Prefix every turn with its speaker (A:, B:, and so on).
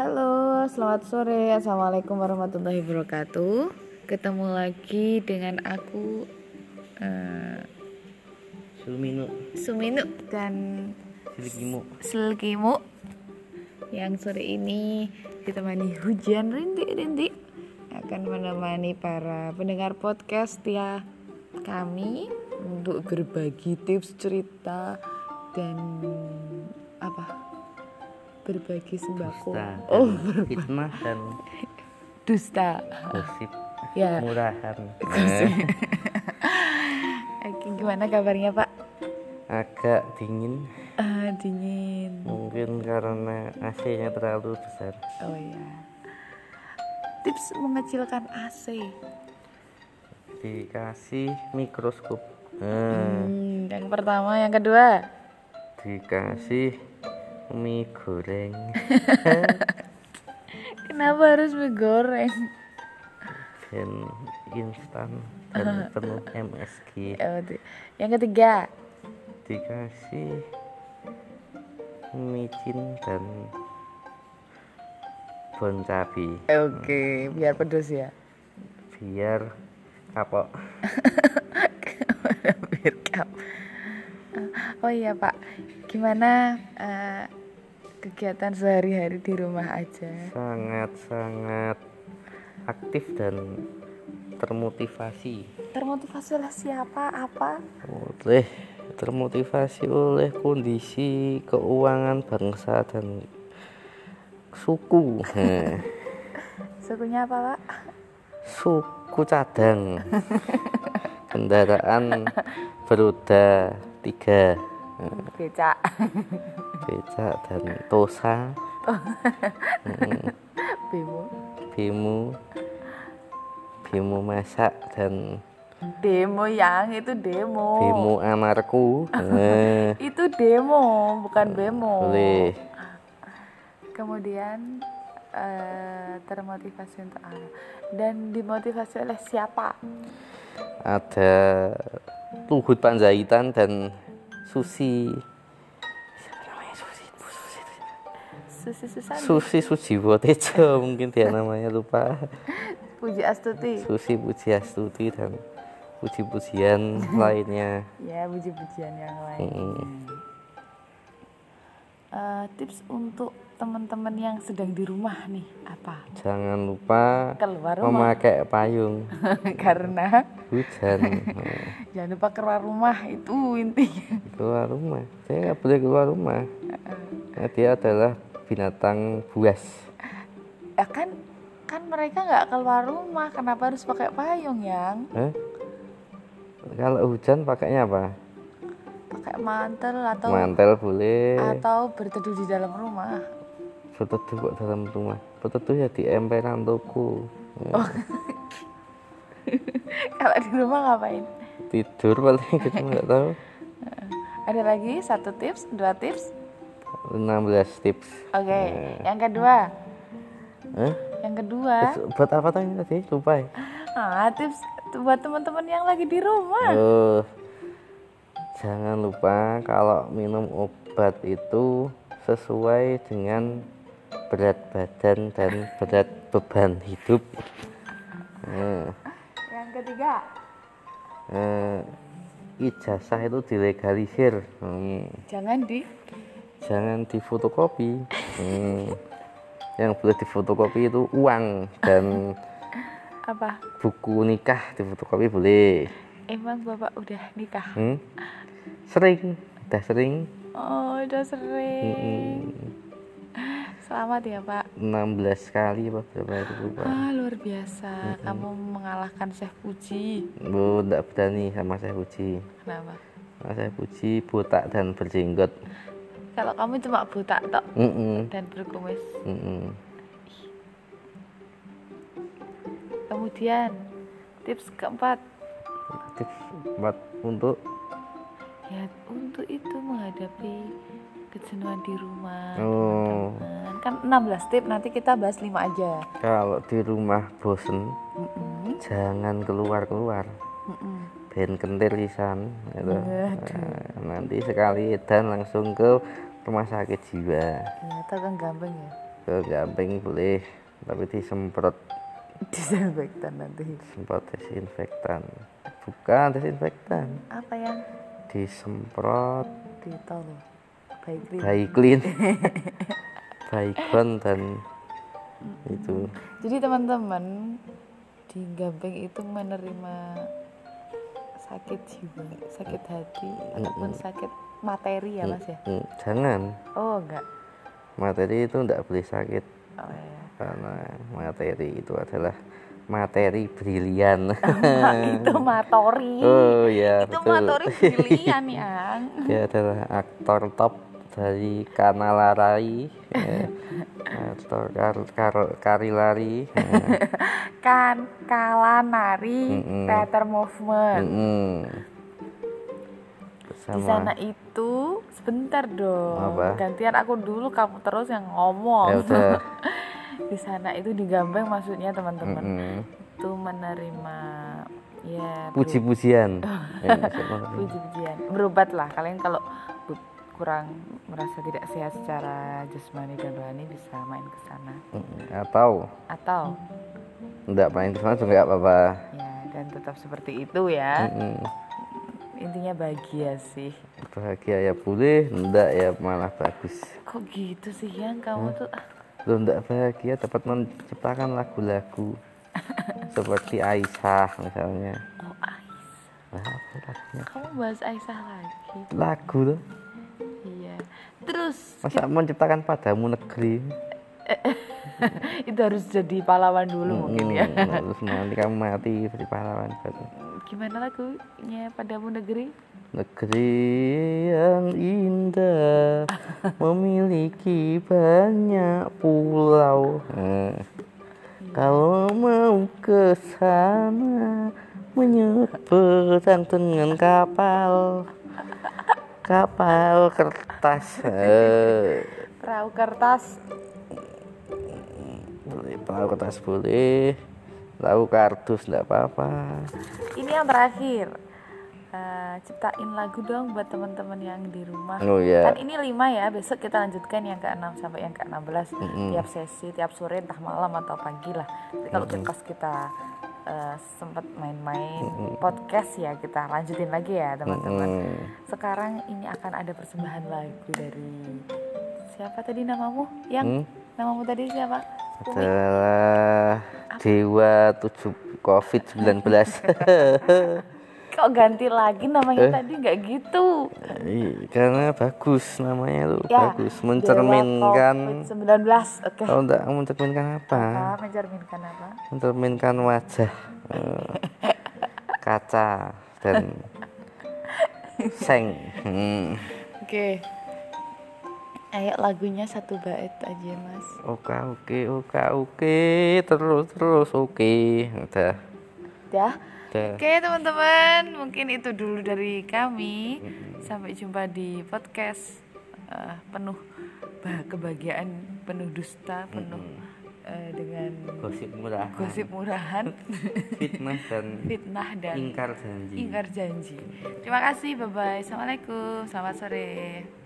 A: Halo, selamat sore. Assalamualaikum warahmatullahi wabarakatuh. Ketemu lagi dengan aku eh,
B: Sulmino
A: Suminu dan
B: Silikimo
A: Selkimu yang sore ini ditemani hujan rintik-rintik akan menemani para pendengar podcast ya kami untuk berbagi tips cerita dan apa berbagi sembako
B: dan
A: oh
B: fitnah dan
A: dusta
B: gosip
A: ya
B: murahan Eh,
A: Oke, gimana kabarnya Pak?
B: agak dingin
A: Ah, dingin.
B: mungkin karena AC-nya terlalu besar
A: Oh iya. Tips mengecilkan AC.
B: dikasih mikroskop Eh,
A: Hmm, yang pertama, yang kedua.
B: dikasih mie goreng
A: Kenapa harus mie goreng?
B: dan instan dan penuh MSG
A: Oh, di- yang ketiga.
B: dikasih micin dan bon cabai
A: Oke, biar pedes ya.
B: biar kapok
A: Biar kap- Oh iya Pak, gimana eh, kegiatan sehari-hari di rumah aja?
B: sangat-sangat aktif dan termotivasi
A: Termotivasi oleh siapa? Apa?
B: oleh termotivasi oleh kondisi keuangan bangsa dan suku Heh,
A: Sukunya apa Pak?
B: suku cadang kendaraan beroda tiga Heh,
A: Becak.
B: becak dan tosa
A: Bimo.
B: bimu bimu masak dan
A: Demo yang itu demo.
B: bimu anarku Heh.
A: Itu demo, bukan bemo.
B: Eh, Boleh.
A: Kemudian eh, termotivasi untuk apa? Dan dimotivasi oleh siapa?
B: Ada Luhut Panjaitan dan Susi siapa namanya Susi Bu Susi itu siapa?
A: Susi Susani,
B: Susi Sujiwo Tejo mungkin dia namanya lupa
A: Puji Astuti.
B: Susi Pujiastuti dan puji-pujian lainnya
A: Ya, puji-pujian yang lain.
B: Hmm.
A: Eh, tips untuk teman-teman yang sedang di rumah nih apa?
B: jangan lupa
A: Keluar rumah
B: memakai payung
A: karena
B: hujan Nah,
A: jangan lupa keluar rumah itu intinya.
B: keluar rumah saya nggak boleh keluar rumah
A: Uh-uh.
B: Nah, dia adalah binatang buas
A: Ya kan kan mereka nggak keluar rumah, kenapa harus pakai payung yang?
B: Hah? Kalau hujan pakainya apa?
A: pakai mantel atau
B: Mantel boleh.
A: atau berteduh di dalam rumah.
B: Berteduh kok dalam rumah. Berteduh ya di emperan toko. Ya,
A: Kalau di rumah ngapain?
B: Tidur paling gitu nggak tahu.
A: Ada lagi satu tips, dua tips.
B: 16 tips.
A: Oke, yang kedua,
B: Hah?
A: yang kedua,
B: Terus Buat apa tadi tadi? Lupa ya.
A: ah tips buat teman-teman yang lagi di rumah.
B: Loh. Jangan lupa kalau minum obat itu sesuai dengan berat badan dan berat beban hidup. Nah.
A: Yang ketiga,
B: eh, ijazah itu dilegalisir Hmm,
A: jangan di
B: jangan difotokopi Hmm, yang boleh difotokopi itu uang dan
A: apa?
B: buku nikah difotokopi boleh
A: Emang bapak udah nikah?
B: Hmm, sering udah sering
A: Oh, udah sering.
B: Hmm,
A: Selamat ya pak.
B: 16 kali apa berapa itu lupa
A: Wah luar biasa, kamu mengalahkan Chef Puji.
B: Bu, enggak berani sama saya puji
A: Kenapa?
B: sama saya puji botak dan berjenggot
A: Kalau kamu cuma buta tok
B: Mm-mm,
A: dan berkumis.
B: mm-mm.
A: Kemudian tips keempat
B: tips buat untuk
A: ya untuk itu menghadapi kejenuhan di rumah.
B: oh,
A: teman-teman. Kan 16 tips nanti kita bahas 5 aja.
B: kalau di rumah bosen
A: Mm-mm,
B: jangan keluar keluar
A: mm-mm.
B: ben kentir pisan gitu.
A: Aduh.
B: Nah, nanti sekali edan langsung ke rumah sakit jiwa
A: Ya, atau kan gampang ya.
B: Ke ke gamping boleh tapi disemprot
A: disinfektan nanti
B: semprot desinfektan bukan desinfektan
A: apa yang
B: disemprot
A: ditol baik
B: Baiklin Baikon dan itu
A: jadi teman-teman di Gamping itu menerima sakit jiwa sakit hati ataupun sakit materi ya mas ya
B: Mm, jangan
A: oh enggak
B: materi itu tidak boleh sakit
A: oh ya
B: karena materi itu adalah materi brilian
A: Mak, itu matori
B: oh ya
A: itu
B: Eh. betul
A: matori pilihan yang
B: dia adalah aktor top dari Kanalarai ya. aktor kar, kar- karilari ya.
A: kan kala nari
B: Mm-mm.
A: theater movement
B: Mm-mm.
A: di
B: Mm, Sama-
A: sana itu sebentar dong
B: Apa?
A: gantian aku dulu kamu terus yang ngomong
B: ya udah
A: di sana itu di Gamping maksudnya teman-teman
B: Mm-mm.
A: itu menerima ya beru-
B: puji-pujian Ya, sama-
A: puji-pujian berobat lah kalian kalau bu- kurang merasa tidak sehat secara jasmani dan rohani bisa main ke sana
B: Mm-mm. atau
A: atau
B: tidak main kesana juga nggak apa-apa
A: ya dan tetap seperti itu ya
B: Mm-mm.
A: intinya bahagia sih
B: bahagia ya boleh enggak ya malah bagus
A: kok gitu sih yang kamu tuh ah,
B: lo enggak bahagia dapat menciptakan lagu-lagu seperti Aisyah misalnya
A: oh Ais
B: Lah, apa lagunya?
A: kamu bahas Aisyah lagi
B: lagu tuh
A: iya terus
B: masa menciptakan padamu negeri
A: itu harus jadi pahlawan dulu mungkin ya
B: Mm, terus nanti kamu mati jadi pahlawan baru.
A: gimana lagunya padamu negeri
B: Negeri yang indah memiliki banyak pulau. Eh, Kalau mau ke sana menyeberang dengan kapal, kapal kertas. Eh,
A: perahu kertas
B: Boleh tahu kertas boleh, tahu kardus nggak apa-apa.
A: ini yang terakhir Eh, ciptain lagu dong buat teman-teman yang di rumah
B: Oh ya.
A: kan ini lima ya besok kita lanjutkan yang ke-6 sampai yang ke-16 tiap sesi tiap sore entah malam atau pagi lah Jadi kalau kita pas kita eh, sempat main-main podcast ya kita lanjutin lagi ya teman-teman
B: Mm,
A: sekarang ini akan ada persembahan lagu dari siapa tadi namamu
B: Hmm?
A: yang namamu tadi siapa Umi?
B: adalah dewa tujuh covid 19
A: kok ganti lagi namanya
B: Eh.
A: tadi nggak gitu
B: Iya, karena bagus namanya lu
A: ya
B: bagus mencerminkan
A: COVID-19 oke
B: tahu enggak mencerminkan apa
A: Ah, mencerminkan apa
B: mencerminkan wajah eh, kaca dan seng Hmm.
A: oke ayo lagunya satu bait aja mas
B: oke oke oke oke terus terus oke udah
A: dah
B: udah
A: oke teman-teman mungkin itu dulu dari kami sampai jumpa di podcast eh, penuh bah- kebahagiaan penuh dusta penuh eh, dengan
B: gosip murah
A: gosip murahan
B: fitnah dan
A: fitnah dan
B: ingkar janji
A: ingkar janji. Terima kasih, bye bye. Assalamualaikum, selamat sore.